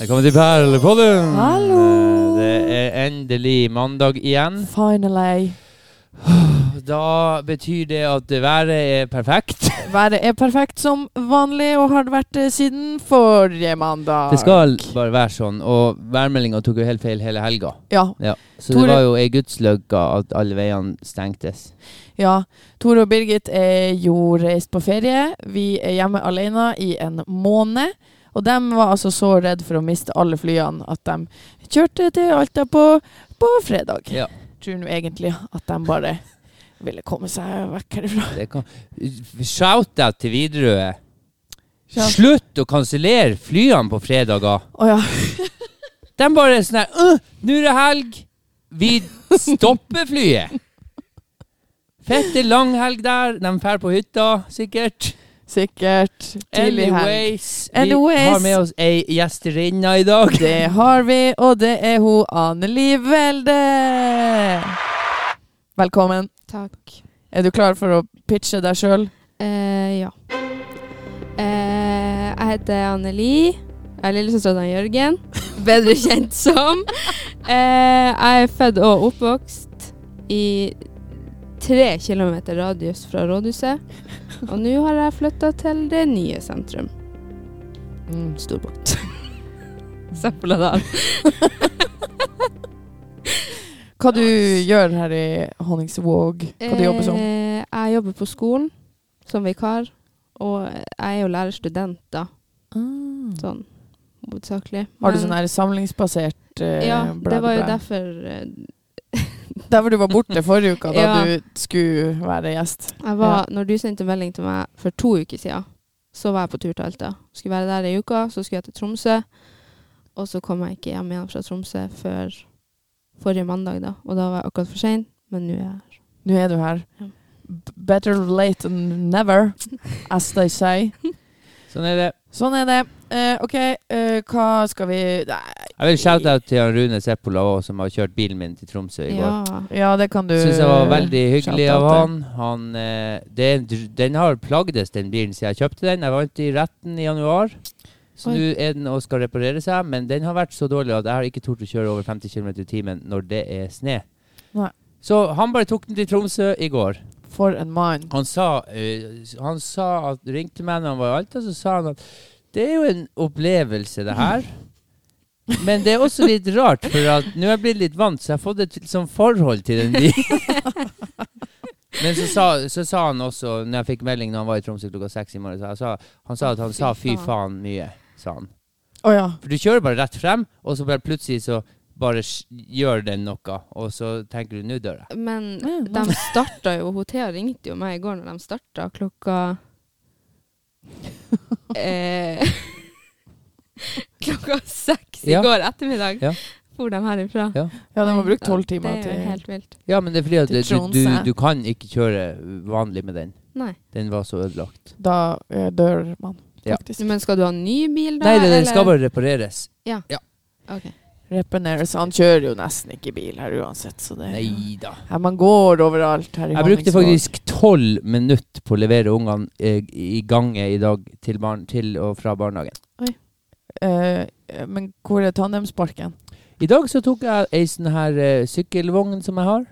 Velkommen til Perlepodden! Hallo! Eh, Det er endelig mandag igjen. Finally. Da betyr det at været er perfekt. Været er perfekt som vanlig og har det vært det siden forrige mandag. Det skal bare være sånn, og værmeldinga tok jo helt feil hele helga. Ja. Ja. Så det Tore- var jo ei gudsløgga at alle veiene stengtes. ja. Tore og Birgit er jo reist på ferie. Vi er hjemme alene i en måned. Og de var altså så redd for å miste alle flyene at de kjørte til Alta på, på fredag. Ja. Tror nå egentlig at de bare ville komme seg vekk herifra. Det kan... Shout-out til Widerøe. Ja. Slutt å kansellere flyene på fredager! Å ja. De bare er sånn her «Øh, Nå er det helg! Vi stopper flyet! Fette lang helg der. De drar på hytta, sikkert. Sikkert. Tidlig helg. Anyways, vi Anyways. har med oss ei gjesterinne i dag. Det har vi, og det er hun Anne Liv Welde. Velkommen. Takk. Er du klar for å pitche deg sjøl? Eh, ja. Eh, jeg heter Anne Li. Jeg er lillesøstera til Jørgen, bedre kjent som. Eh, jeg er født og oppvokst i tre kilometer radius fra rådhuset. Og nå har jeg flytta til det nye sentrum. Mm. Storbukt. Søppeladal. Hva du gjør her i Honningsvåg? Hva du jobber som? Eh, jeg jobber på skolen som vikar, og jeg er jo lærerstudent, da. Sånn hovedsakelig. Har du Men- sånn her samlingsbasert eh, ah. Ja, bla, det var jo bla, bla? derfor eh, Der hvor du var borte forrige uka, da Ja. du skulle være gjest. jeg var, Når du sendte melding til meg for to uker siden, så var jeg på tur til Alta. Skulle være der ei uke, så skulle jeg til Tromsø. Og så kom jeg ikke hjem igjen fra Tromsø før forrige mandag, da. Og da var jeg akkurat for sein, men nå er jeg her. Nå er du her. Ja. B- Better late than never, as they say. Sånn er det. Sånn er det. Eh, OK, eh, hva skal vi Nei, Jeg vil shout-out til han Rune Seppola også, som har kjørt bilen min til Tromsø i går. Ja. Ja, det kan du Syns jeg var veldig hyggelig av shout-out han. han eh, det, er en dr- den har plagdes, den bilen, siden jeg kjøpte den. Jeg vant i retten i januar. Så Oi. nå er den og skal reparere seg, men den har vært så dårlig at jeg har ikke tort å kjøre over 50 km i timen når det er snø. Nei. Så han bare tok den til Tromsø i går. For en mann. Han sa, eh, han sa at ringte meg når han var i Alta, så sa han at det er jo en opplevelse, det her. Men det er også litt rart, for at nå er jeg blitt litt vant, så jeg har fått et sånn forhold til den bilen. Men så sa, så sa han også, når jeg fikk melding når han var i Tromsø klokka seks i morgen, så jeg sa, han sa at han sa fy faen mye, sa han. Å ja. For du kjører bare rett frem, og så bare plutselig så bare s- gjør den noe, og så tenker du nå dør jeg. Men Ja, ja. de starta jo Hun Thea ringte jo meg i går når de starta klokka eh, Klokka seks i Ja. går ettermiddag Ja. for de herifra. Ja. Ja, de har brukt tolv timer Det er jo til helt vilt. Ja, men det er fordi at Til du, Tromsø. du, du kan ikke kjøre vanlig med den. Nei. Den var så ødelagt. Da eh, dør man, Ja. faktisk. Men skal du ha ny bil da? Nei, den, den eller? skal bare repareres. Ok. Repaneres. Han kjører jo nesten ikke bil her uansett, så det Nei da. Ja, Man går overalt her i Jeg brukte Honningsvåg. faktisk tolv minutter på å levere ungene eh, i gangen i dag til, barn, til og fra barnehagen. Eh, eh, Men hvor er tandemsparken? I dag så tok jeg ei sånn her eh, sykkelvogn som jeg har.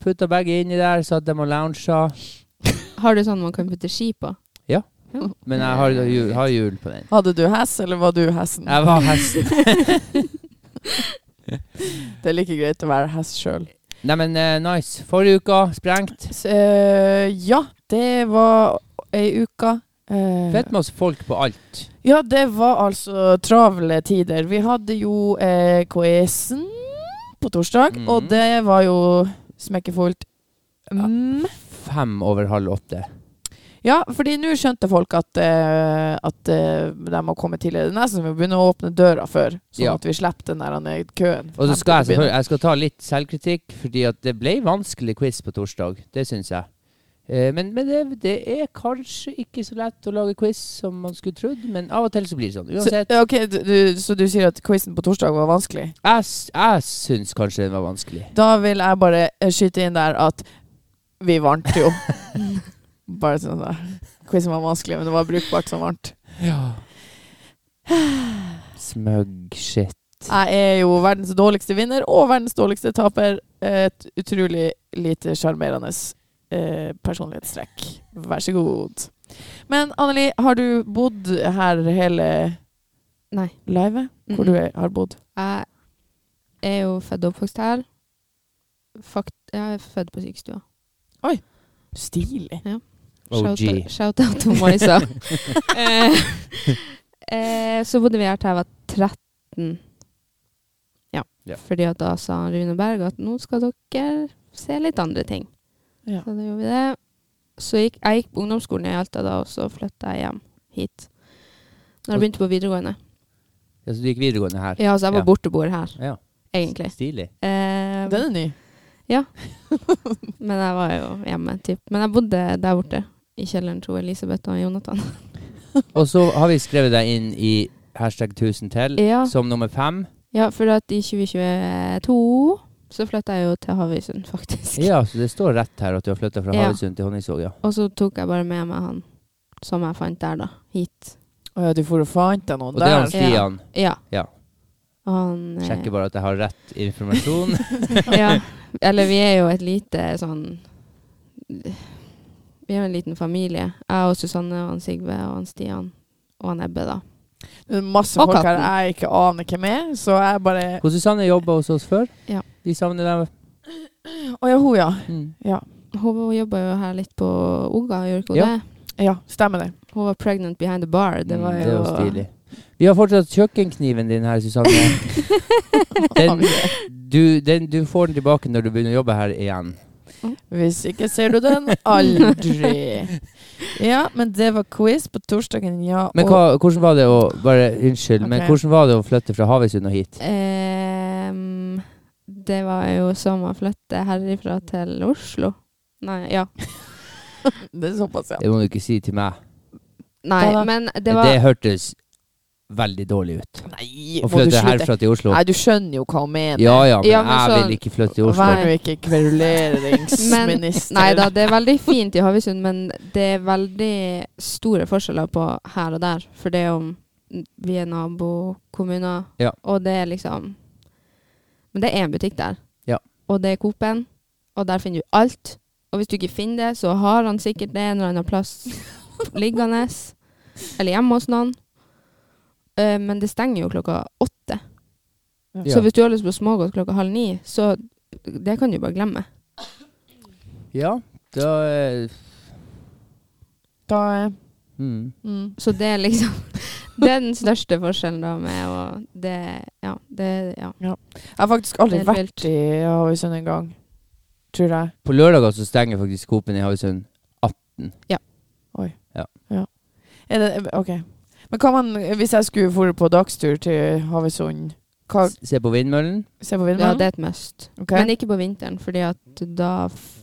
Putta begge inni der, satt dem og lounga. Har du sånn man kan putte ski på? Ja. Men jeg har jo hjul, har hjul på den. Hadde du hess, eller var du hessen? Jeg var hesten. Det er like greit å være hest sjøl. Neimen, eh, nice. Forrige uka, sprengt. Eh, ja, det var ei uke. Eh, Fett med oss folk på alt. Ja, det var altså travle tider. Vi hadde jo eh, quizen på torsdag, Mhm. og det var jo smekkefullt. Mm. Fem over halv åtte. Ja, fordi nå skjønte folk at, eh, at eh, de må komme tidligere. Det er nesten som å begynne å åpne døra før, sånn Ja. at vi slipper den der eh, køen. Og så skal jeg Frem til å selvfølgelig jeg skal ta litt selvkritikk, fordi at det ble vanskelig quiz på torsdag. Det syns jeg. Eh, Men, men det, det er kanskje ikke så lett å lage quiz som man skulle trodd, men av og til så blir det sånn. begynne. Så, Uansett, ja, ok, du, du, så du sier at quizen på torsdag var vanskelig? jeg, s- jeg syns kanskje den var vanskelig. Da vil jeg bare eh, skyte inn der at vi vant jo. bare sånn der. Quizen var vanskelig, men det var brukbart som varmt. Ja. Smug shit. Jeg er jo verdens dårligste vinner og verdens dårligste taper. Et utrolig lite sjarmerende eh, personlighetstrekk. Vær så god. Men Anneli, har du bodd her hele Nei. livet? Hvor du er, har bodd? Jeg er jo født og oppvokst her. Fakt, jeg er født på sykestua. Stilig. OG. Shout- Shout out to Maisa. eh, eh, så bodde vi her til jeg var 13. Ja. Ja. Fordi at da sa Rune Berg at nå skal dere se litt andre ting. Ja. Så da gjorde vi det. Så gikk, jeg gikk på ungdomsskolen i Alta da, og så flytta jeg hjem hit. Når jeg begynte på videregående. Ja, så du gikk videregående her? Ja, så jeg var Ja. borteboer her, Ja. egentlig. Stilig. Eh, Den er ny. Men jeg var jo hjemme, typ. Men jeg bodde der borte. I kjelleren til Elisabeth og Jonathan. Og så har vi skrevet deg inn i hashtag 1000 til Ja. som nummer fem. Ja, for at i 2022 så flytta jeg jo til Havøysund, faktisk. Ja, så det står rett her at du har flytta fra Ja. Havøysund til Honningsvåg, ja. Og så tok jeg bare med meg han som jeg fant der, da. Hit. Å ja, du for og fant deg noen Og det er altså- han der. Ja. Stian. Ja. Ja. Og han eh, Sjekker bare at jeg har rett informasjon. ja. Eller vi er jo et lite sånn Vi er jo en liten familie. Jeg og Susanne og han Sigve og han Stian og han Ebbe, da. Det er masse Og folk her katten. jeg ikke aner hvem er, så jeg bare Hun Susanne jobba hos oss før. Ja. Vi savner dem. Å ja, hun, ja. Mm. Hun jobba jo her litt på Oga, gjør ikke hun Ja. det? Ja, stemmer det. Hun var pregnant behind the bar. Det var Mm, jo det er jo stilig. Vi har fortsatt kjøkkenkniven din her, Susanne. Den, du, den, du får den tilbake når du begynner å jobbe her igjen. Hvis ikke ser du den aldri. Ja, men det var quiz på torsdagen, ja. Men og- hva, hvordan var det å Bare unnskyld, men Ok. hvordan var det å flytte fra Havøysund og hit? Ehm, det var jo som å flytte herifra til Oslo. Nei, ja. Det er såpass, ja. Det må du ikke si til meg. Nei, Da- men det Det, var hørtes veldig dårlig ut. Nei, Å må du flytte slutte? herfra til Oslo. Nei, du skjønner jo hva hun mener. Ja ja, men, Ja, men jeg sånn- vil ikke flytte til Oslo. Vær nå ikke kveruleringsminister. Nei da, det er veldig fint i Havøysund, men det er veldig store forskjeller på her og der. For det er om vi er nabokommuner, Ja. og det er liksom Men det er én butikk der, Ja. og det er Coop-en, og der finner du alt. Og hvis du ikke finner det, så har han sikkert det en eller annen plass liggende, eller hjemme hos noen. Eh, Men det stenger jo klokka åtte. Ja. Så hvis du har lyst på smågodt klokka halv ni, så det kan du bare glemme. Ja, da eh, Da, eh, mm. mm. Så det er liksom Det er den største forskjellen da med å Det Ja. Det, ja. Jeg har faktisk aldri Det er helt vært i Havøysund en gang. Tror jeg. På lørdager så stenger faktisk Coop-en i Havøysund. Er det, eh, ok. Men hva man, hvis jeg skulle dra på dagstur til Havøysund hva, Se på vindmøllen. Se på ja, Vindmøllen? det er et must. Ok. Men ikke på vinteren, fordi at da f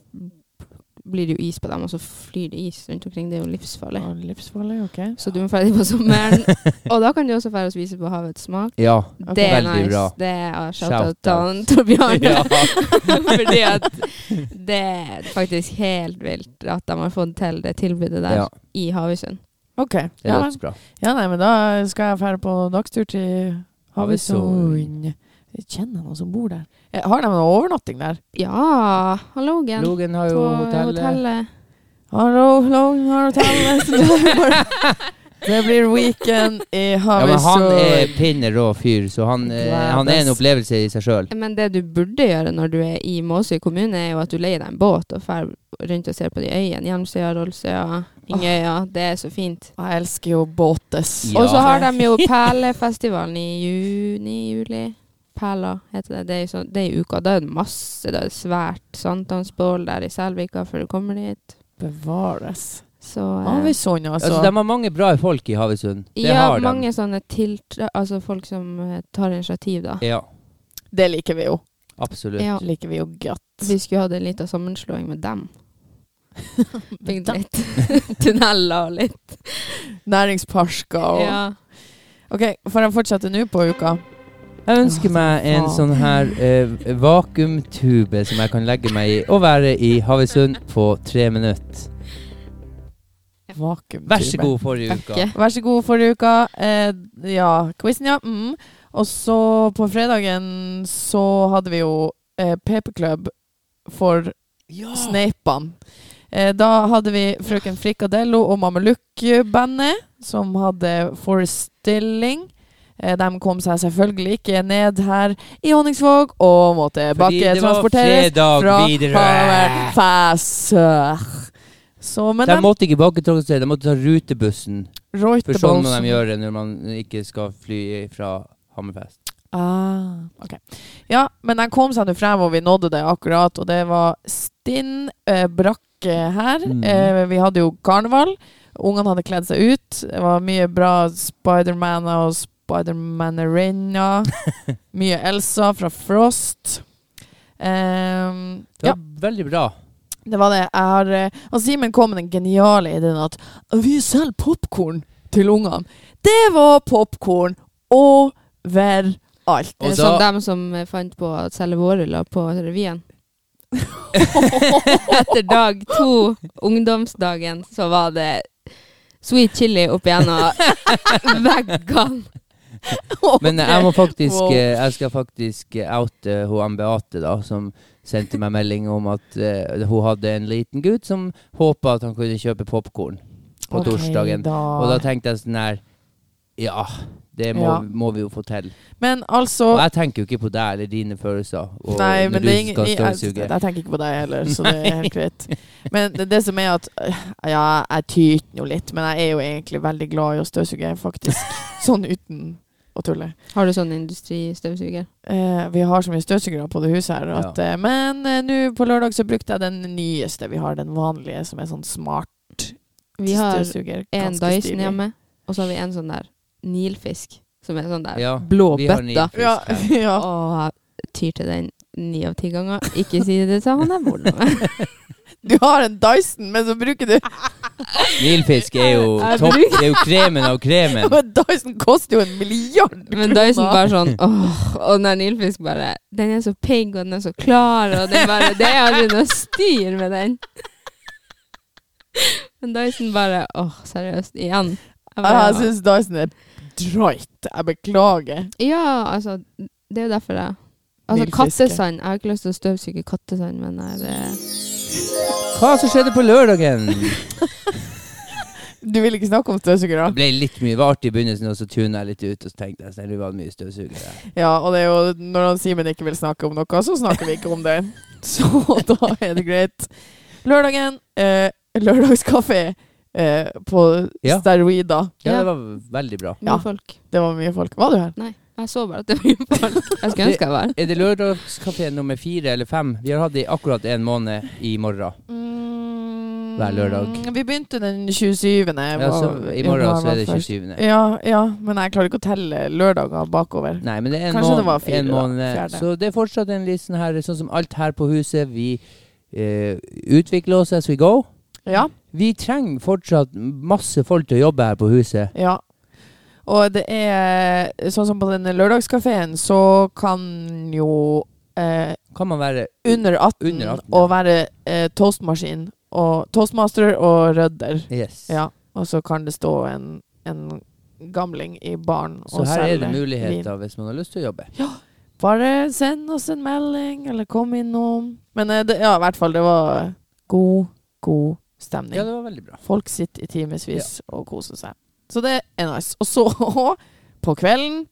blir det jo is på dem, og så flyr det is rundt omkring. Det er jo livsfarlig. Å, Livsfarlig, ok. Så du må ferdig på sommeren. og da kan du også ferdig og spise på Havets smak. Ja. Det er Veldig nice. bra. Det er shout-out Shout-out. til han Torbjørn. ja. fordi at det er faktisk helt vilt at de har fått til det tilbudet der ja. i Havøysund. Ok. Det er Ja, men- dødsbra. Ja, nei, men da skal jeg fære på dagstur til Havøysund. Havøysund. Jeg kjenner noen som bor der. Eh, Har de noe overnatting der? Ja, hallogen. Logen har På jo hotellet. hotellet. Hallo, hallo, hallo, hotellet. Så det blir- Det blir weekend i Ja, Havøysund. men han er pinne rå fyr, så han, eh, Glad han er en best. opplevelse i seg sjøl. Men det du burde gjøre når du er i Måsøy kommune, er jo at du leier deg en båt og drar rundt og ser på de øyene. Hjelmsøya, Rollsøya, Ingøya. Det er så fint. Jeg elsker jo båtes. Ja. Og så har de jo Perlefestivalen i juni-juli. Perla heter det. Det er, jo sånn, det er i uka. Da er det masse. Da er det svært sankthansbål der i Selvika før du kommer dit. Bevares. Så eh, Havøysund, Altså, altså. de har mange bra folk i Havøysund. Det Ja, har de. mange sånne tiltra... Altså folk som eh, tar initiativ, da. Ja, Det liker vi jo. absolutt. Ja. Det liker vi jo godt. Vi skulle hatt en liten sammenslåing med dem. Bygd litt tunneler og litt Næringsparker og Ok, får jeg fortsette nå på uka? Jeg ønsker meg en faen. sånn her eh, vakuumtube som jeg kan legge meg i og være i Havøysund på tre minutter. Vakuumtube. Vær så god forrige uka. Takke. Vær så god forrige uke. Eh, ja, quizen, ja. Mm. Og så på fredagen så hadde vi jo eh, PP-klubb for Ja. Sneipene. Eh, da hadde vi Frøken Frikadello og Mameluk-bandet, som hadde forestilling. Eh, de kom seg selvfølgelig ikke ned her i Honningsvåg og måtte Fordi det var bakketransporteres fredag fra videre. Hammerfest. Så, men De de, måtte ikke bakketransportere, de måtte ta rutebussen. For sånn må Reuterbolsen- de gjøre når man ikke skal fly fra Hammerfest. Ah, ok. Ja, men den kom seg nå frem, og vi nådde det akkurat. Og det var stinn eh, brakke her. Mhm. Eh, vi hadde jo karneval. Ungene hadde kledd seg ut. Det var mye bra Spiderman og Spidermanerinna. mye Elsa fra Frost. Ehm, Det ja, var veldig bra. det var det. Jeg har, eh, og Simen kom med den geniale ideen at vi selger popkorn til ungene. Det var popkorn overalt. Og Eh, da- Som dem som eh, fant på å selge vårruller på revyen. Etter dag to, ungdomsdagen, så var det sweet chili opp gjennom veggene. Men jeg må faktisk Wow. eh, Jeg skal faktisk eh, oute hun Ann Beate, da, som sendte meg melding om at eh, hun hadde en liten gutt som håpa at han kunne kjøpe popkorn på Ok, torsdagen. Da. Og da tenkte jeg sånn her Ja, det må, Ja. må vi jo få til. men Og altså jeg tenker jo ikke på deg eller dine følelser. Og Nei, men når det du er ingen, skal jeg, altså, jeg, støvsuge. jeg tenker ikke på deg heller, så det er helt greit. Men det, det som er at øh, Ja, jeg tyter nå litt, men jeg er jo egentlig veldig glad i å støvsuge, faktisk. Sånn uten å tulle. Har du sånn industristøvsuger? Eh, vi har så mye støvsugere på det huset her. At, eh, men eh, nå på lørdag så brukte jeg den nyeste vi har, den vanlige, som er sånn smart Vi har støvsuger. en Ganske Dyson stilig. hjemme, og så har vi en sånn der nilfisk, som er sånn der Ja, blå vi har bøtta. nyfisk Ja, her. ja. Og jeg tyr til den ni av ti ganger. Ikke si det til han jeg bor med. Du har en Dyson, men så bruker du Nilfisk er jo Jeg topp. Det er jo kremen av kremen. Men Dyson koster jo en milliard Men Dyson bare sånn åh, Og den der Nilfisk bare Den er så pigg, og den er så klar, og den bare Det er aldri noe styr med den. Men Dyson bare åh, seriøst. Igjen. Ah, Ja, Jeg bare, Jeg syns Dyson er drøyt. Jeg beklager. ja, altså Det er jo derfor jeg Altså, Nilfiske. kattesand. Jeg har ikke lyst til å støvsuge kattesand, men jeg det- Hva som skjedde på lørdagen? Du vil ikke snakke om støvsugere? Det ble litt mye. Det var artig i begynnelsen, og så tuna jeg litt ut, og så tenkte jeg at det var mye støvsugere. Ja, og det er jo når han Simen ikke vil snakke om noe, så snakker vi ikke om det. Så da er det greit. Lørdagen. Eh, lørdagskafé eh, på Ja. steroider. Ja, Ja. det var veldig bra. Mye Ja. folk. Det var mye folk. Var du her? Nei, jeg så bare at det var mye folk. Jeg skulle ønske jeg var. Er det lørdagskafé nummer fire eller fem? Vi har hatt det i akkurat en måned i morgen. Hver lørdag. Vi begynte den 27. Ja, så I morgen så er det 27. Ja, ja, men jeg klarer ikke å telle lørdager bakover. Nei, men det er en Kanskje det var måned. fire, En da. måned. Fjerde. Så det er fortsatt en litt sånn her, sånn som alt her på huset. Vi eh, utvikler oss as we go. Ja. Vi trenger fortsatt masse folk til å jobbe her på huset. Ja. Og det er sånn som på denne lørdagskafeen, så kan jo eh, Kan man være under 18, Under 18, å ja. være eh, toastmaskin og toastmaster og rødder. Yes. Ja. Og så kan det stå en, en gamling i baren Så og her er det selge muligheter hvis man har lyst til å jobbe. vin. Bare send oss en melding, eller kom innom. Men eh, det, ja, i hvert fall, det var god, god stemning. Ja, det var veldig bra. Folk sitter i timevis og koser seg. Så det er nice. Og så, på kvelden,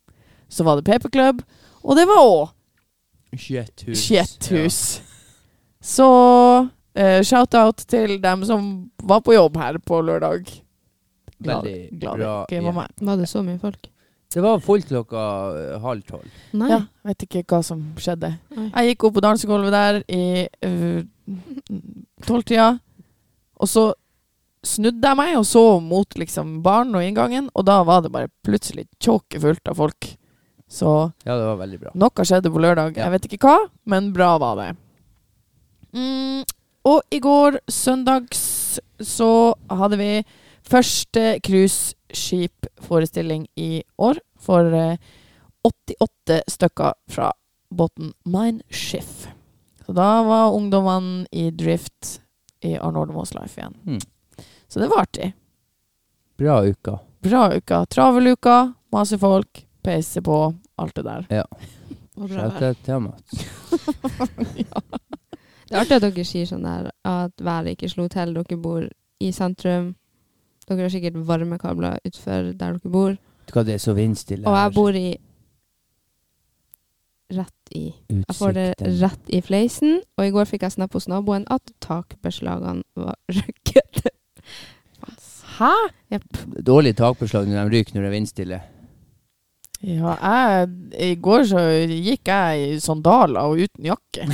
så var det paperclub, og det var òg Kjetthus. Skjetthus. Så eh, shout-out til dem som var på jobb her på lørdag. Glad, Veldig glad bra, ikke ja. var meg. Var det så mye folk? Det var fullt klokka eh, halv tolv. Nei. Ja, vet ikke hva som skjedde. Nei. Jeg gikk opp på dansegulvet der i eh, tolvtida, og så snudde jeg meg og så mot liksom baren og inngangen, og da var det bare plutselig tjåkefullt av folk. Så Ja, det var veldig bra. noe skjedde på lørdag. Ja. Jeg vet ikke hva, men bra var det. Mm, og i går, søndags, så hadde vi første cruiseskipforestilling i år for eh, 88 stykker fra båten Mineshift. Så da var ungdommene i drift i Arnold Moss Life igjen. Mm. Så det var artig. Bra uka. Bra uka. Travel uka, masse folk, peise på, alt det der. Ja. Og bra vær. Shout out til Mats. Det er artig at dere sier sånn der at været ikke slo til. Dere bor i sentrum. Dere har sikkert varmekabler utenfor der dere bor. Vet du hva, det er så vindstille Og jeg her. bor i Rett i. Jeg får det rett i fleisen. Og i går fikk jeg snap hos naboen at takbeslagene var røkket. Hæ? Dårlig takbeslag når de ryker når det er vindstille. Ja, jeg, I går så gikk jeg i sandaler og uten jakke.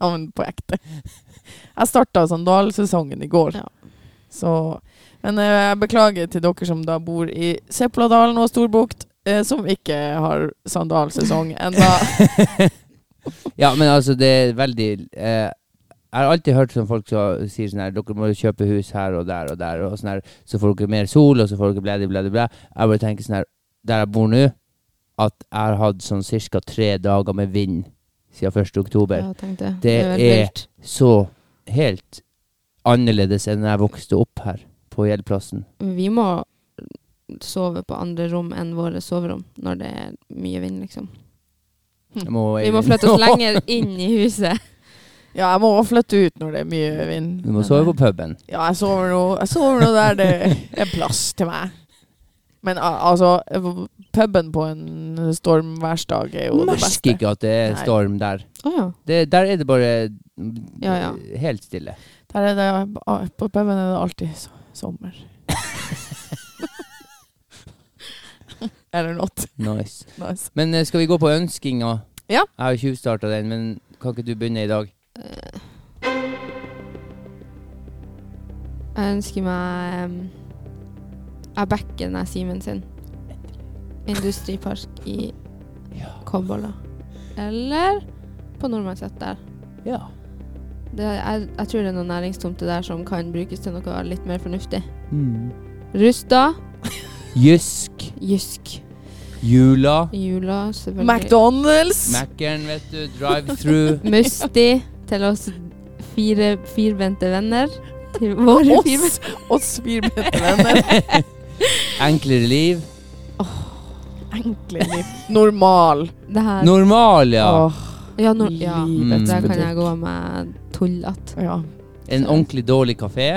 ja, men på ekte. Jeg starta sandalsesongen i går. Ja. Så, men eh, jeg beklager til dere som da bor i Sepladalen og Storbukt, eh, som ikke har sandalsesong ennå. Ja, men altså, det er veldig eh, Jeg har alltid hørt sånn folk som sier sånn her Dere må jo kjøpe hus her og der og der, og sånn her, så får dere mer sol, og så får dere blædi, blædi, blæ. Jeg bare tenker sånn her Der jeg bor nå, at jeg har hatt sånn ca. tre dager med vind siden 1. oktober. Ja, tenkte jeg. Det vel er- vilt. Så helt annerledes enn da jeg vokste opp her på Gjeldplassen. Vi må sove på andre rom enn våre soverom når det er mye vind, liksom. Jeg må- Vi må flytte oss lenger inn i huset. Ja, jeg må også flytte ut når det er mye vind. Vi må sove på puben. Ja, jeg sover nå, jeg sover nå der det er plass til meg. Men a- altså, puben på en stormværsdag er jo det Merker beste. ikke at det er Nei. storm der. Å ja. Det, der er det bare mm, Ja, ja. helt stille. Der er det, a- på puben er det alltid so sommer. Eller not. Nice. Nice. Men eh, skal vi gå på ønskinga? Ja. Jeg har jo tjuvstarta den, men kan ikke du begynne i dag? Jeg ønsker meg um, Jeg backer den her Simen sin. Industripark i Kolbolla. Eller på Nordmannsjett der. Ja. Det, jeg, jeg tror det er noen næringstomter der som kan brukes til noe litt mer fornuftig. Rusta, Mm. Jysk. Jysk, Jula. Jula, selvfølgelig. McDonald's! Mac-en, vet du. Drive-through. Musti til oss fire firbente venner. Til våre fire Oss! Oss firbente venner. Enklere liv. Enkle liv. Normal. Det her. Normal, ja. Åh, ja, nor ja. Mm. livets Der kan butikk. jeg gå med tullete. Ja. En ordentlig dårlig kafé.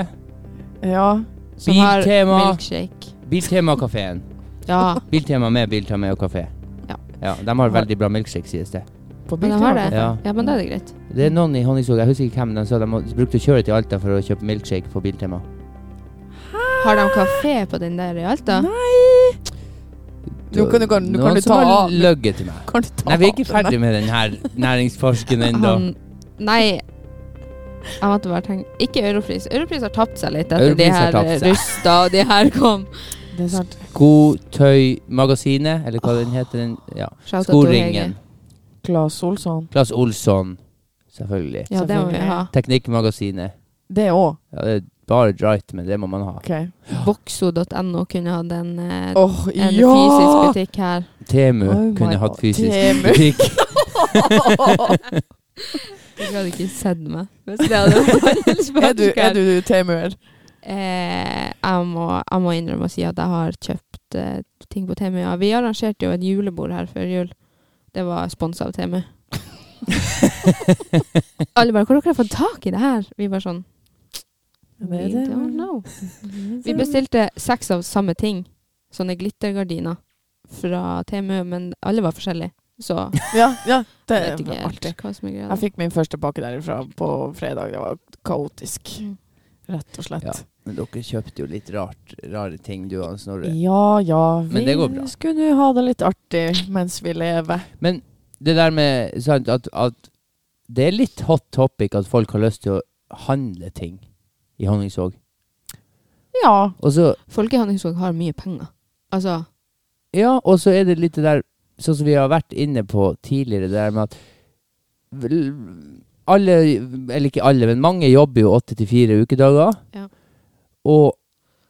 ja. Som har Biltema. milkshake. Biltema-kafeen. Ja, Biltema med Biltema og kafé. Ja. De har veldig bra milkshake, sies det. På men jeg har det. Ja. Ja, men da er det greit. Det er noen i Honningsvåg, jeg husker ikke hvem, de sa de må- brukte å kjøre til Alta for å kjøpe milkshake på Biltema. Har de kafé på den der i Alta? Nei! Nå kan du, kan, du, kan Noen du ta som har av løyet til meg. Kan du ta Nei, vi er ikke av den ferdig med den her næringsforsken ennå. Han, nei. Jeg måtte bare tenke Ikke Europris. Europris har tapt seg litt etter Europris de har her tapt seg. rusta og de her kom. der? Det er sant. Skotøymagasinet, eller hva den heter. Den, ja. Shout out til Skoringen. Hege. Claes Olsson. Klass Olsson, selvfølgelig. Ja, det må vi ha. Teknikkmagasinet. Det òg. Ja, det er bare dright, men det må man ha. OK. Åh, Boxo.no kunne hatt en, eh, en ja! fysisk butikk her. Temu Oh my kunne hatt God. fysisk Temu. butikk. Dere hadde ikke sett meg hvis det hadde vært er du, er du Temuer? Eh, jeg, må, jeg må innrømme å si at jeg har kjøpt eh, ting på Temu. Ja, vi arrangerte jo et julebord her før jul. Det var sponsa av Temu. Alle bare 'Hvor har dere fått tak i det her?' Vi var sånn We don't know. Vi bestilte seks av samme ting. Sånne glittergardiner fra Temu, men alle var forskjellige. Så Ja, ja. Det jeg vet er ikke artig. helt hva som er greia. Jeg fikk min første pakke derifra på fredag. Det var kaotisk, Mm. rett og slett. Ja. Men dere kjøpte jo litt rart, rare ting, du og Snorre. Ja ja, Men det går bra. vi skulle ha det litt artig mens vi lever. Men det der med sant, at, at det er litt hot topic at folk har lyst til å handle ting i Honningsvåg. Ja. Og så Folk i Honningsvåg har mye penger. Altså Ja, og så er det litt det der Sånn som vi har vært inne på tidligere, det der med at vel, alle, eller ikke alle, men mange jobber jo åtte til fire ukedager. Ja. Og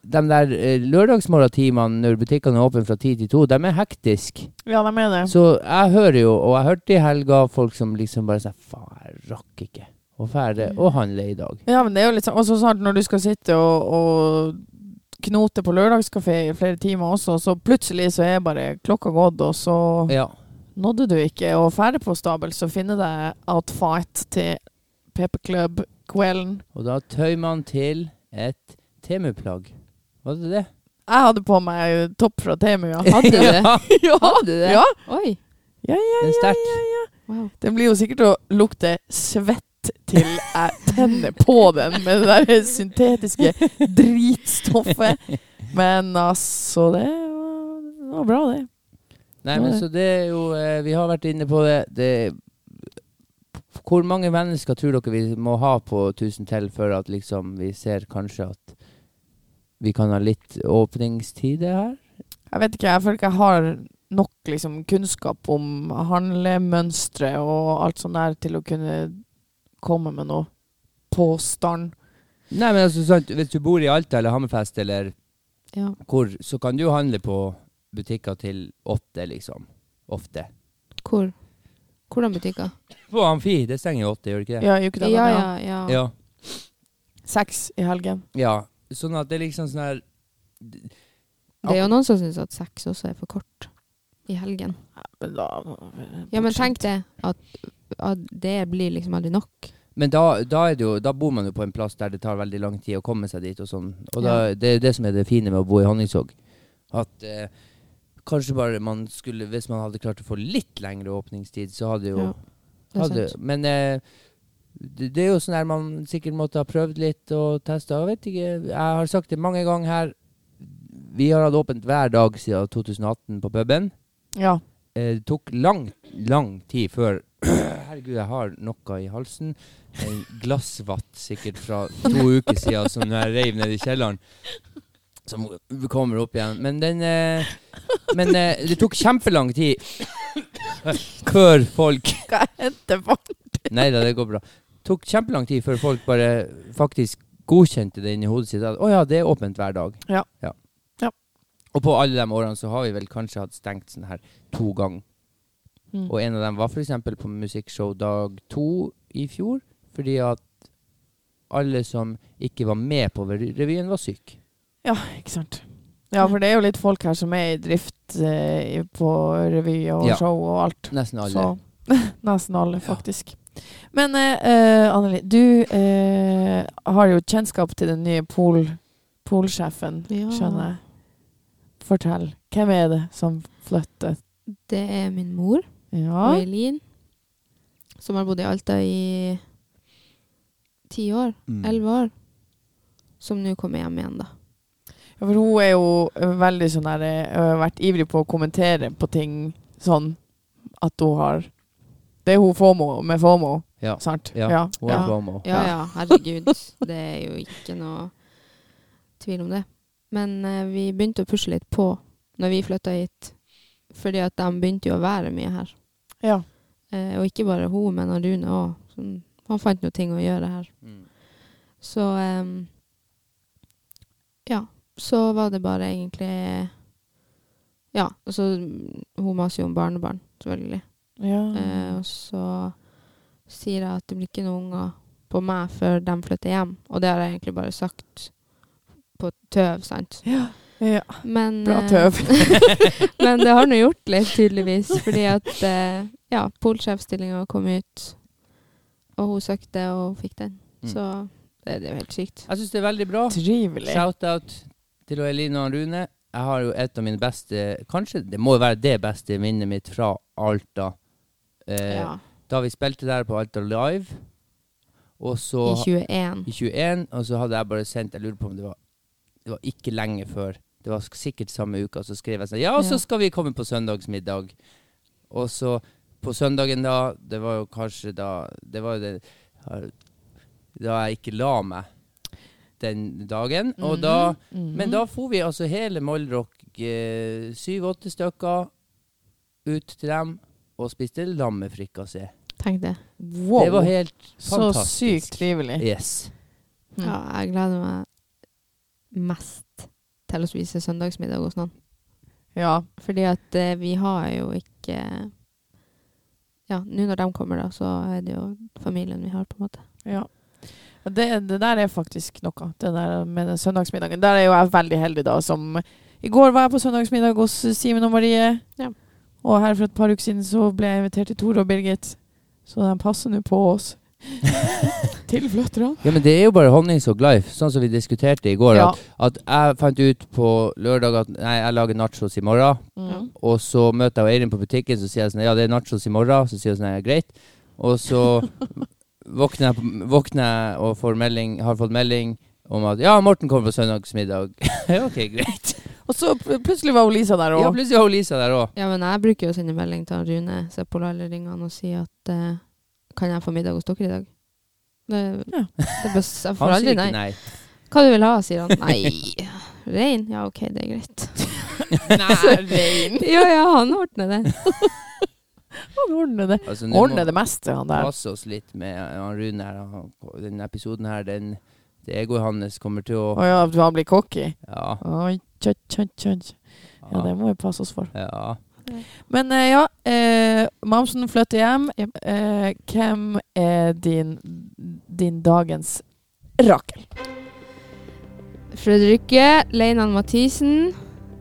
de der eh, lørdagsmorgentimene når butikkene er åpne fra ti til to, de er hektiske. Ja, de er det. Så jeg hører jo, og jeg hørte i helga, folk som liksom bare sier faen, jeg rakk ikke å ferde og handle i dag. Ja, men det er jo litt sånn Og så snart når du skal sitte og, og knote på lørdagskafé i flere timer også, så plutselig så er bare klokka gått, og så Ja. nådde du ikke å ferde på stabel, så finner deg outfight til pepperklubb-kvelden. Og da tøyer man til et temuplagg. Var det det? Jeg hadde på meg topp fra Temu, ja. Hadde du det? ja. Hadde du det? Ja. Oi. Ja, ja, Det er ja, sterkt. ja, ja. Wow. Den blir jo sikkert å lukte svett til jeg tenner på den med det der syntetiske dritstoffet. Men altså, det var, det var bra, det. Nei, men så det er jo eh, Vi har vært inne på det. det hvor mange mennesker tror dere vi må ha på 1000 til før at liksom vi ser kanskje at vi kan ha litt åpningstid her? Jeg vet ikke, jeg føler ikke jeg har nok liksom, kunnskap om handlemønstre og alt sånt der til å kunne komme med noe påstand. Nei, men altså, sant, hvis du bor i Alta eller Hammerfest eller Ja. hvor, så kan du handle på butikker til åtte, liksom. Ofte. Hvor? Hvordan butikker? På Amfi, det stenger jo åtte, gjør det ikke det? Ja, i ukedagene. Ja, ja. ja. ja. Seks i helgen. Ja. Sånn at det er liksom sånn her Det er jo noen som syns at seks også er for kort i helgen. Men da, Ja, men tenk det. At, at det blir liksom aldri nok. Men da, da, er det jo, da bor man jo på en plass der det tar veldig lang tid å komme seg dit. Og sånn. Og da, Det er jo det som er det fine med å bo i Honningsvåg. At eh, kanskje bare man skulle Hvis man hadde klart å få litt lengre åpningstid, så hadde jo Ja, Det er hadde, sant. Men eh, det, det er jo sånn her man sikkert måtte ha prøvd litt og testa. Jeg vet ikke. Jeg har sagt det mange ganger her. Vi har hatt åpent hver dag siden 2018 på puben. Ja. Eh, Det tok lang, lang tid før Herregud, jeg har noe i halsen. En glassvatt sikkert fra to uker siden som jeg reiv ned i kjelleren. Som kommer opp igjen. Men den eh, Men eh, det tok kjempelang tid før folk Hva hendte for Nei da, det går bra. Tok kjempelang tid før folk bare faktisk godkjente det inni hodet sitt. At å ja, det er åpent hver dag. Ja. Ja. Og på alle de årene så har vi vel kanskje hatt stengt sånn her to ganger. Mm. Og en av dem var f.eks. på musikkshow dag to i fjor, fordi at alle som ikke var med på revyen, var syke. Ikke sant. Ja, for det er jo litt folk her som er i drift eh, i- på revy og Ja. show og alt. Nesten alle. Så nesten alle, faktisk. Men eh, eh, Anneli, du eh, har jo kjennskap til den nye pol, polsjefen, Ja. skjønner jeg. Fortell. Hvem er det som flyttet? Det er min mor, Ja. og Eileen, som har bodd i Alta i ti år. Mm. Elleve år. Som nå kommer hjem igjen, da. Ja, For hun er jo veldig sånn der eh, har Vært ivrig på å kommentere på ting sånn at hun har Det er hun FOMO med FOMO, Ja. sant? Ja. ja. Hun Ja. er FOMO. Ja Ja. ja, herregud. Det er jo ikke noe tvil om det. Men eh, vi begynte å pusle litt på når vi flytta hit, fordi at de begynte jo å være mye her. Ja. Eh, og ikke bare hun, men han Rune òg. Han fant noe ting å gjøre her. Mm. Så em, Ja. Så var det bare egentlig Ja, og så mm, Hun maser jo om barnebarn, selvfølgelig. ja. Eh, og så sier jeg at det blir ikke noen unger på meg før de flytter hjem. Og det har jeg egentlig bare sagt på tøv, sant. ja. ja. Men, Bra eh, tøv. men det har nå gjort litt, tydeligvis. Fordi at eh, ja, polsjefstillinga kom ut, og hun søkte og fikk den. Mm. Så det, det er jo helt sykt. Jeg syns det er veldig bra. Trivelig. Shout-out til Eline og Rune. Jeg har jo et av mine beste Kanskje det må jo være det beste minnet mitt fra Alta. Eh, Ja, Da vi spilte der på Alta Live, og så I 21. i 21, og så hadde jeg bare sendt Jeg lurer på om det var Det var ikke lenge før. Det var sk- sikkert samme uka. Så skrev jeg sånn Ja, Ja. så skal vi komme på søndagsmiddag. Og så på søndagen da Det var jo kanskje da Det var jo det Da jeg ikke la meg den dagen. Og da Mhm. men da for vi altså hele Mollrock, eh, syv-åtte stykker, ut til dem og spiste lammefrikassé. Tenk det. wow. Eh. Det var helt Så fantastisk. sykt trivelig. Yes. Mm. Ja, jeg gleder meg mest til å spise søndagsmiddag hos noen. Ja. Fordi at eh, vi har jo ikke Ja, nå når de kommer, da, så er det jo familien vi har, på en måte. ja. Og Det, det der er faktisk noe, det der med den søndagsmiddagen. Der er jo jeg veldig heldig, da, som I går var jeg på søndagsmiddag hos Simen og Marie. Ja. Og her for et par uker siden så ble jeg invitert til Tore og Birgit. Så de passer nå på oss. til fløtterne. Ja, men det er jo bare honnings og glife, sånn som vi diskuterte i går. Ja. At, at jeg fant ut på lørdag at nei, jeg lager nachos i morgen. Mm. Og så møter jeg Eirin på butikken, så sier jeg sånn Ja, det er nachos i morgen. Så sier hun sånn Ja, greit. Og så våkner jeg, våkner jeg og får melding, har fått melding om at Ja, Morten kommer på søndagsmiddag. ja, ok, greit. Og så pl- plutselig var hun Lisa der Ja, òg. plutselig har hun Lisa der òg. Ja, men jeg bruker jo å sende melding til han Rune Sepolalleringene og si at eh, Kan jeg få middag hos dere i dag? Det, Ja. det bes, jeg får Han sier aldri ikke nei. nei. Hva du vil ha, sier han. Nei. Rein? Ja, OK, det er greit. Nei, rein. Ja, ja, han ordner det. Han ordner det. Altså, nå Ordner må det meste, han vi der. passe oss litt med han Rune her. Han- Denne episoden her, den Det egoet hans kommer til å Å ja, han blir cocky. Ja. Oi, tja, tja, tja. Ja, det Ja. må vi passe oss for. ja. Men eh, ja, eh, Mamsen flytter hjem. Eh, hvem er din, din dagens Rakel? Fredrikke, Leinan Mathisen.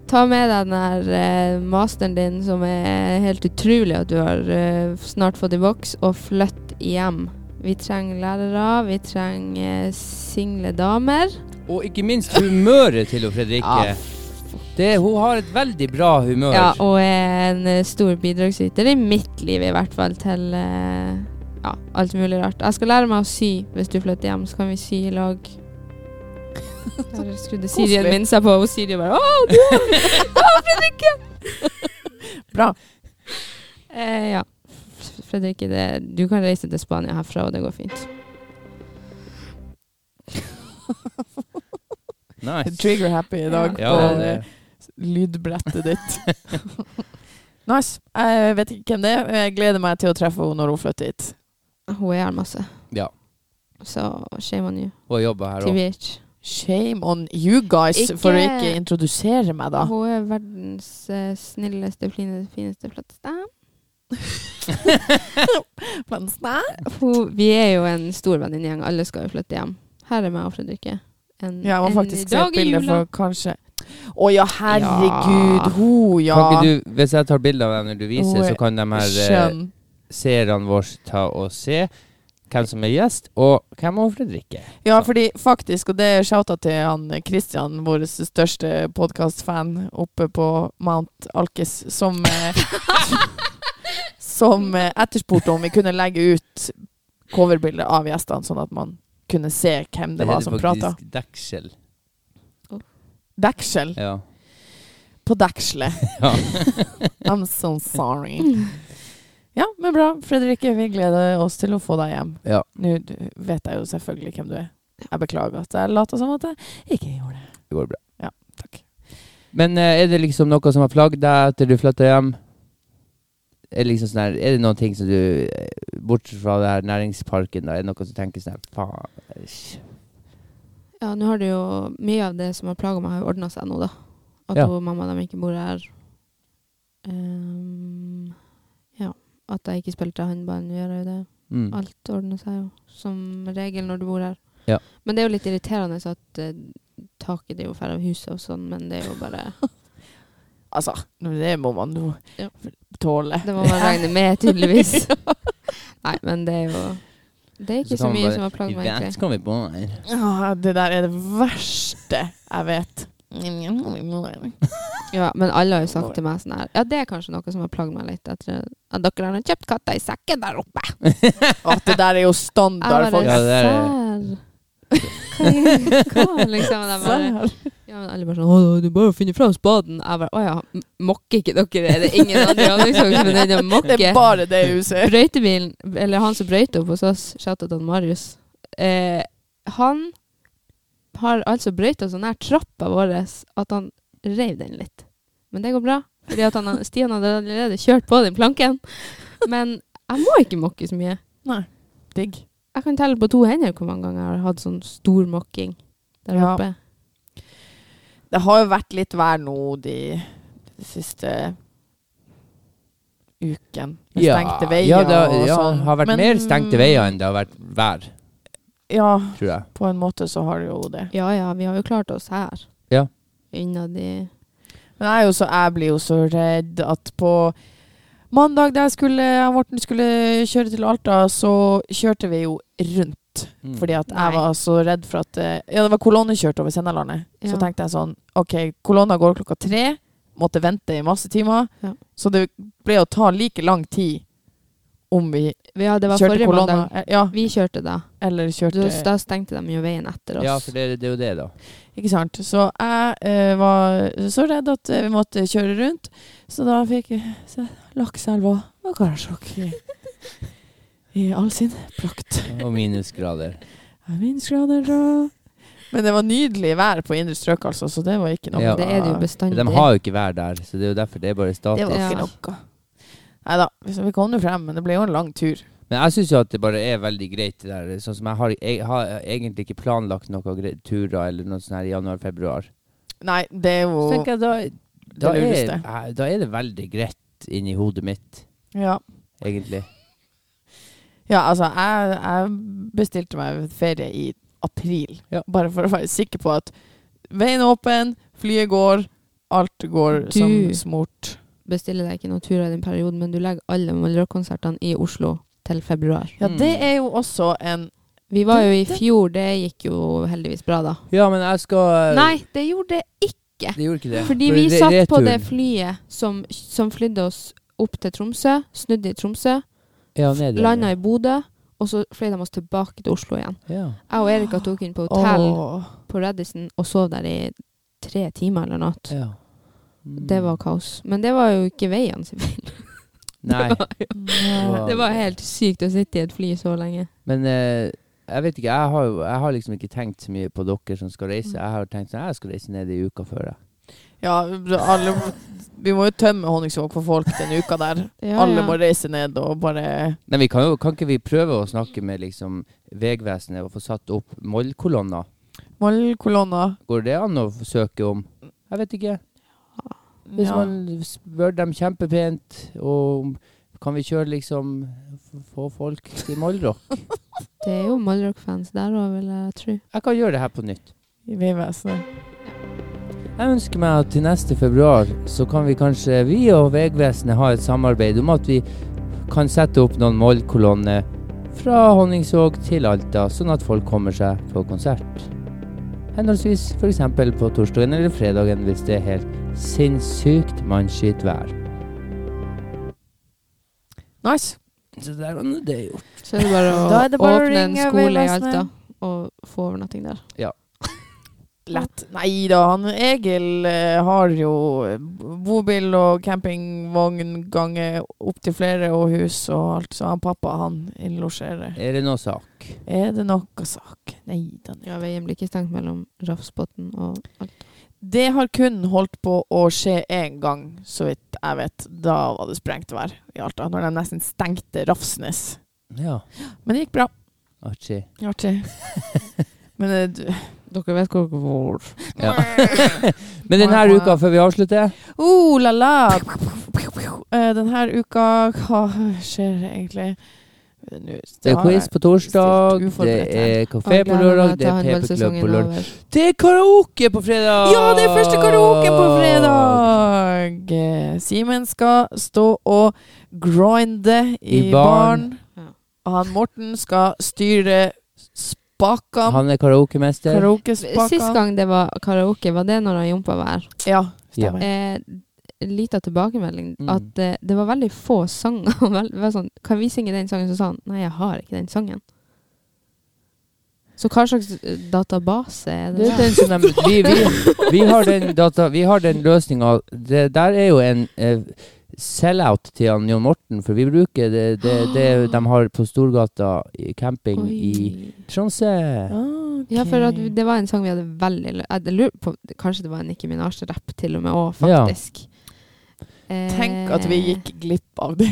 Ta med deg den her eh, masteren din som er helt utrolig at du har eh, snart fått i boks, og flytt hjem. Vi trenger lærere, vi trenger eh, single damer. Og ikke minst humøret til hun Fredrikke. Ja, Det, hun har et veldig bra humør. Ja, og er en eh, stor bidragsyter i mitt liv i hvert fall til eh, ja, alt mulig rart. Jeg skal lære meg å sy hvis du flytter hjem, så kan vi sy i lag. Der skrudde Sirien Koselig. min seg på, og Siri bare Å, du Å, Fredrikke! Bra. Eh, ja. Fredrikke, det, du kan reise til Spania herfra, og det går fint. Nice. Trigger happy i dag Ja, på det, eh, lydbrettet ditt. nice. Jeg vet ikke hvem det er. Jeg gleder meg til å treffe henne når hun flytter hit. Hun er her masse. Ja. Så shame on you. Hun jobber her òg. TVH. Shame on you guys Ikke- for å ikke introdusere meg, da. Hun er verdens eh, snilleste, flineste, fineste, flotteste. Men snæ- Hun, vi er jo en stor venninnegjeng. Alle skal jo flytte hjem. Her er meg og Fredrikke. En, Ja, jeg må en faktisk se dag et i bilde, jula. for kanskje Å ja, herregud. Ja. Hun, ja. Kan ikke du, hvis jeg tar bilde av henne når du viser, Hun er så kan de her eh, Skjønn. seerne våre ta og se hvem som er gjest, og hvem er hun Fredrikke? Ja, fordi faktisk, og det er shouta til han eh, Christian, vår største podkastfan oppe på Mount Alkes, som eh, Som eh, etterspurte om vi kunne legge ut coverbilder av gjestene, sånn at man kunne se hvem det var som prata. faktisk deksel. Deksel. Ja. På dekselet. Ja. I'm so sorry. Ja, men bra. Fredrikke, vi gleder oss til å få deg hjem. Ja. Nå d- vet jeg jo selvfølgelig hvem du er. Jeg beklager at jeg later som at jeg ikke gjorde det. Det går bra. Ja, takk. Men eh, er det liksom noe som har plagd deg etter du flytta hjem? Er det, liksom sånn her, er det noen ting som du eh, Bortsett fra det her næringsparken, da, er det noe som tenker sånn her Faen æsj." Ja, nå har det jo mye av det som har plaga meg, har ordna seg nå, da. At Ja. hun, mamma og dem ikke bor her. Ehm, ja. At jeg ikke spilte håndball, nå gjør jeg jo det. Mm. Alt ordner seg jo som regel når du bor her. Ja. Men det er jo litt irriterende så at eh, taket det er jo ferdig av huset og sånn, men det er jo bare Altså, det må man jo Ja. tåle. Det må man regne med, tydeligvis. Nei, men det er jo Det er ikke Så kan så, man mye bare, som har plaget meg, "I vet egentlig. hva vi bor her." Ah, det der er det verste jeg vet. Å Ja, men alle har jo sagt til meg sånn her Ja, det er kanskje noe som har plaget meg litt. Etter at dere har kjøpt katta i sekken der oppe. det der er jo Jeg standard, bare folk. Ja, det er Sær. Hva, hva, liksom? De bare, ja, men alle bare sånn Å, du bare finner fram spaden. Jeg bare Å ja, m- mokker ikke dere? Er det ingen andre i Andøysaker som er nødt til Det å er mokke? bare det huset. Brøytebilen, eller han som brøyter opp hos oss, shouta til Marius eh, Han har altså brøyta så nær trappa vår at han reiv den litt. Men det går bra, fordi at han, Stian hadde allerede kjørt på den planken. Men jeg må ikke mokke så mye. Nei, digg. Jeg kan telle på to hender hvor mange ganger jeg har hatt sånn stor mokking der Ja. oppe. Det har jo vært litt vær nå de, de siste uken. Med stengte veier ja, det, og ja, sånn. har vært Men- mer stengte veier enn det har vært vær. Ja, tror jeg. på en måte så har det jo det. Ja ja, vi har jo klart oss her. Ja. Innad i Men jeg, er jo så, jeg blir jo så redd at på mandag da jeg skulle, jeg og Morten skulle kjøre til Alta, så kjørte vi jo rundt. Mm. Fordi at Nei. jeg var så redd for at eh, Ja, det var kolonnekjørt over Sennalandet. Ja. Så tenkte jeg sånn OK, kolonna går klokka tre. Måtte vente i masse timer. Ja. Så det ble å ta like lang tid om vi Ja, det var kjørte forrige kolonna. mandag. eh, Ja, Vi kjørte da. eller kjørte Da, da stengte de jo veien etter oss. Ja, for det, det er jo det, da. Ikke sant? Så jeg eh, var så redd at eh, vi måtte kjøre rundt. Så da fikk jeg se lakseelva og Karasjok i, i all sin prakt. Og minusgrader. Jeg minnes grader og Men det var nydelig vær på indre strøk, altså, så det var ikke noe Ja. Det er det jo bestandig. De har jo ikke vær der, så det er jo derfor det er bare Det statisk. var Ja. ikke noe. Nei da, vi kom jo frem, men det ble jo en lang tur. Men jeg syns jo at det bare er veldig greit, det der. Sånn som jeg har, jeg har egentlig ikke planlagt noen gre- turer eller noe sånt her i januar-februar. Nei, det er jo Så tenker jeg da, da, Det er, lureste. eh, da er det veldig greit inni hodet mitt, Ja, egentlig. ja altså, jeg, jeg bestilte meg ferie i april, Ja. bare for å være sikker på at veien er åpen, flyet går, alt går Du- som smurt. bestiller deg ikke noen turer i den perioden, men du legger alle Molde-konsertene i Oslo til februar. Ja, Mm. det er jo også en Vi var jo i fjor, det gikk jo heldigvis bra da. Ja, men jeg skal eh, Nei, det gjorde det ikke. Det gjorde ikke det. Fordi For vi re- satt på det returen- flyet som, som flydde oss opp til Tromsø, snudde i Tromsø, ja, ned, landa i Bodø, og så fløy de oss tilbake til Oslo igjen. Ja. Jeg og Erika tok inn på hotell Åh. på Radisson og sov der i tre timer eller natt. ja. Mm. Det var kaos. Men det var jo ikke veien sin feil. Nei. Det var, jo, Ja. det var helt sykt å sitte i et fly så lenge. Men eh, jeg vet ikke, jeg har, jo- jeg har liksom ikke tenkt så mye på dere som skal reise. Jeg har tenkt sånn, jeg skal reise ned i uka før. Jeg. Ja, alle Vi må jo tømme Honningsvåg for folk den uka der. Ja, alle ja. må reise ned og bare Nei, vi kan, jo, kan ikke vi prøve å snakke med liksom Vegvesenet og få satt opp Moll-kolonner? Mollkolonna. Går det an å søke om? Jeg vet ikke. Hvis Ja. man spør dem kjempepent og om- kan vi kjøre liksom f- få folk til Mollrock? Det er jo Malrock-fans der òg, vil jeg tro. Jeg kan gjøre det her på nytt. I Vegvesenet. Jeg ønsker meg at til neste februar så kan vi kanskje, vi og Vegvesenet, ha et samarbeid om at vi kan sette opp noen Moll-kolonner fra Honningsvåg til Alta, sånn at folk kommer seg på konsert. Henholdsvis f.eks. på torsdagen eller fredagen hvis det er helt sinnssykt mannskitt vær. Nice. Så der var nå det gjort. Så er det bare å Da er det bare å åpne en ringe skole i Vegvesenet. Alta og få overnatting der. Lett. Nei da, han Egil eh, har jo bobil og campingvogn gange opp til flere og hus og alt, så han pappa, han innlosjerer. Er det noe sak? Er det noe sak? Nei da. nei. Ja, veien blir ikke stengt mellom Rafsbotn og Alta. Det har kun holdt på å skje én gang, så vidt jeg vet. Da var det sprengt vær i Alta, når de nesten stengte Rafsnes. Ja, Men det gikk bra. artig. Artig. Men eh, du Dere vet hvor hvor. Ja. Men denne uka, før vi avslutter Oh la la! Eh, Denne uka Hva skjer egentlig? Nå- Det er har quiz jeg- på torsdag, stilt uforberedt det her. er kafé på lørdag, det er PP-klubb på lørdag over. Det er karaoke på fredag! Ja, det er første karaoke på fredag! Eh, Simen skal stå og grinde i, I baren. baren. Ja. Og Han Morten skal styre spakene. Han er karaokemester. Sist Karaokespakene. gang det var karaoke, var det når han Jompa var her. Ja, stemmer. Eh, Lita tilbakemelding Mm. at eh, det var veldig få sanger. Og vel- Det var sånn, kan vi synge den sangen? Så sa han nei, jeg har ikke den sangen. Så hva slags eh, database er det det? er den som de, vi, vi, vi har den, data- vi har den løsninga Det der er jo en eh, sell-out til han Jon Morten, for vi bruker det, det, det de har på Storgata i camping i Oi. Tromsø. Ok. Ja, for at det var en sang vi hadde veldig lø- Jeg lurer på Kanskje det var en Nicki Minaj-rapp til og med òg, Ja. faktisk. Eh, Tenk at vi gikk glipp av det.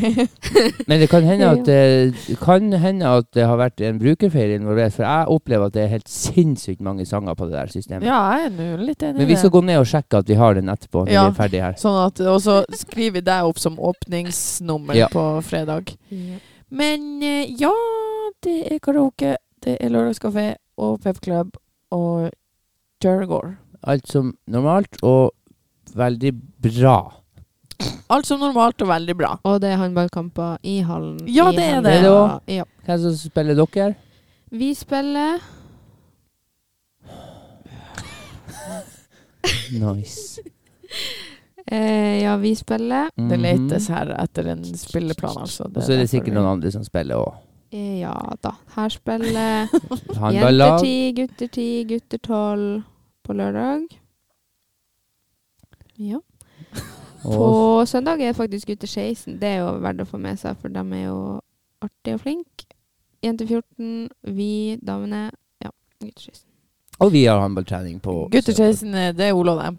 Men det kan hende Ja, at det, kan hende at det har vært en brukerfeil involvert, for jeg opplever at det er helt sinnssykt mange sanger på det der systemet. Ja, jeg er nå litt enig i Men vi det. skal gå ned og sjekke at vi har den etterpå, når Ja. vi er ferdig her. Sånn at, og så skriver vi deg opp som åpningsnummer Ja. på fredag. Ja. Men eh, ja, det er karaoke. Det er lørdagskafé og pepklubb og Turgore. Alt som normalt, og veldig bra. Alt som normalt og veldig bra. Og det er håndballkamper i hallen. Ja, i det er helgen. det. Er det også? Ja. Hvem som spiller dere? Vi spiller Nice. eh, Ja, vi spiller Det Mhm. letes her etter en spilleplan, altså. Og så er det derfor sikkert vi- noen andre som spiller òg. eh, Ja da. Her spiller jenter Håndballag. ti, gutter ti, gutter tolv på lørdag. Ja. Og På søndag er faktisk gutter 16. Det er jo verdt å få med seg, for de er jo artige og flinke. Jenter 14, vi damene Ja, gutter 16. og vi har håndballtrening på Gutter 16, eh, det er Ola og dem.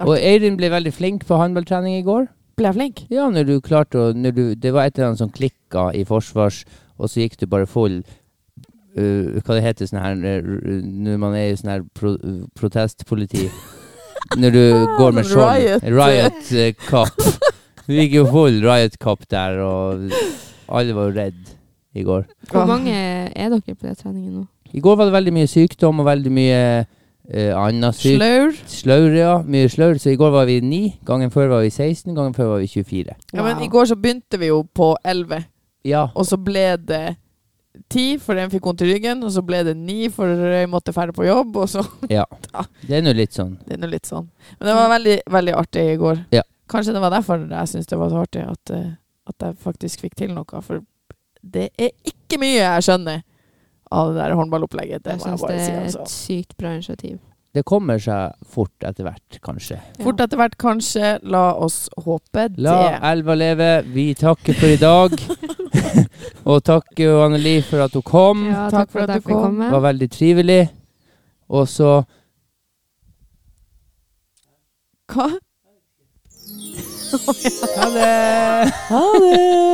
Og Eirin ble veldig flink på håndballtrening i går. Ble jeg flink? Ja, når du klarte å når du, Det var et eller annet som klikka i forsvars, og så gikk du bare full uh, Hva det heter sånn her uh, Når man er i sånn her pro, uh, protestpoliti Når du går med sånn skjold. riot. Riot uh, cup. Du gikk jo full riot cup der, og alle var jo redd i går. Ah. Hvor mange er dere på den treningen nå? I går var det veldig mye sykdom og veldig mye uh, annet sykt. Slaur. Slaur, ja. Mye slaur. Så i går var vi 9, gangen før var vi 16, gangen før var vi 24. Ja, men i går så begynte vi jo på 11, Ja. og så ble det 10, for en fikk vondt i ryggen, og så ble det 9, for jeg måtte ferde på jobb, og så Det er nå litt sånn. Det er nå litt sånn. Men det var veldig, veldig artig i går. Ja. Kanskje det var derfor jeg syntes det var så artig at, eh, at jeg faktisk fikk til noe. For det er ikke mye jeg skjønner av det der håndballopplegget. Det Jeg må jeg syns det bare si, er altså. et sykt bra initiativ. Det kommer seg fort etter hvert, kanskje. Fort etter hvert, kanskje. La oss håpe det. La elva leve. Vi takker for i dag. og takker jo Anne Li for at hun kom. Ja, takk for at du kom. Det var veldig trivelig. Og så Hva? Ha det! Ha det!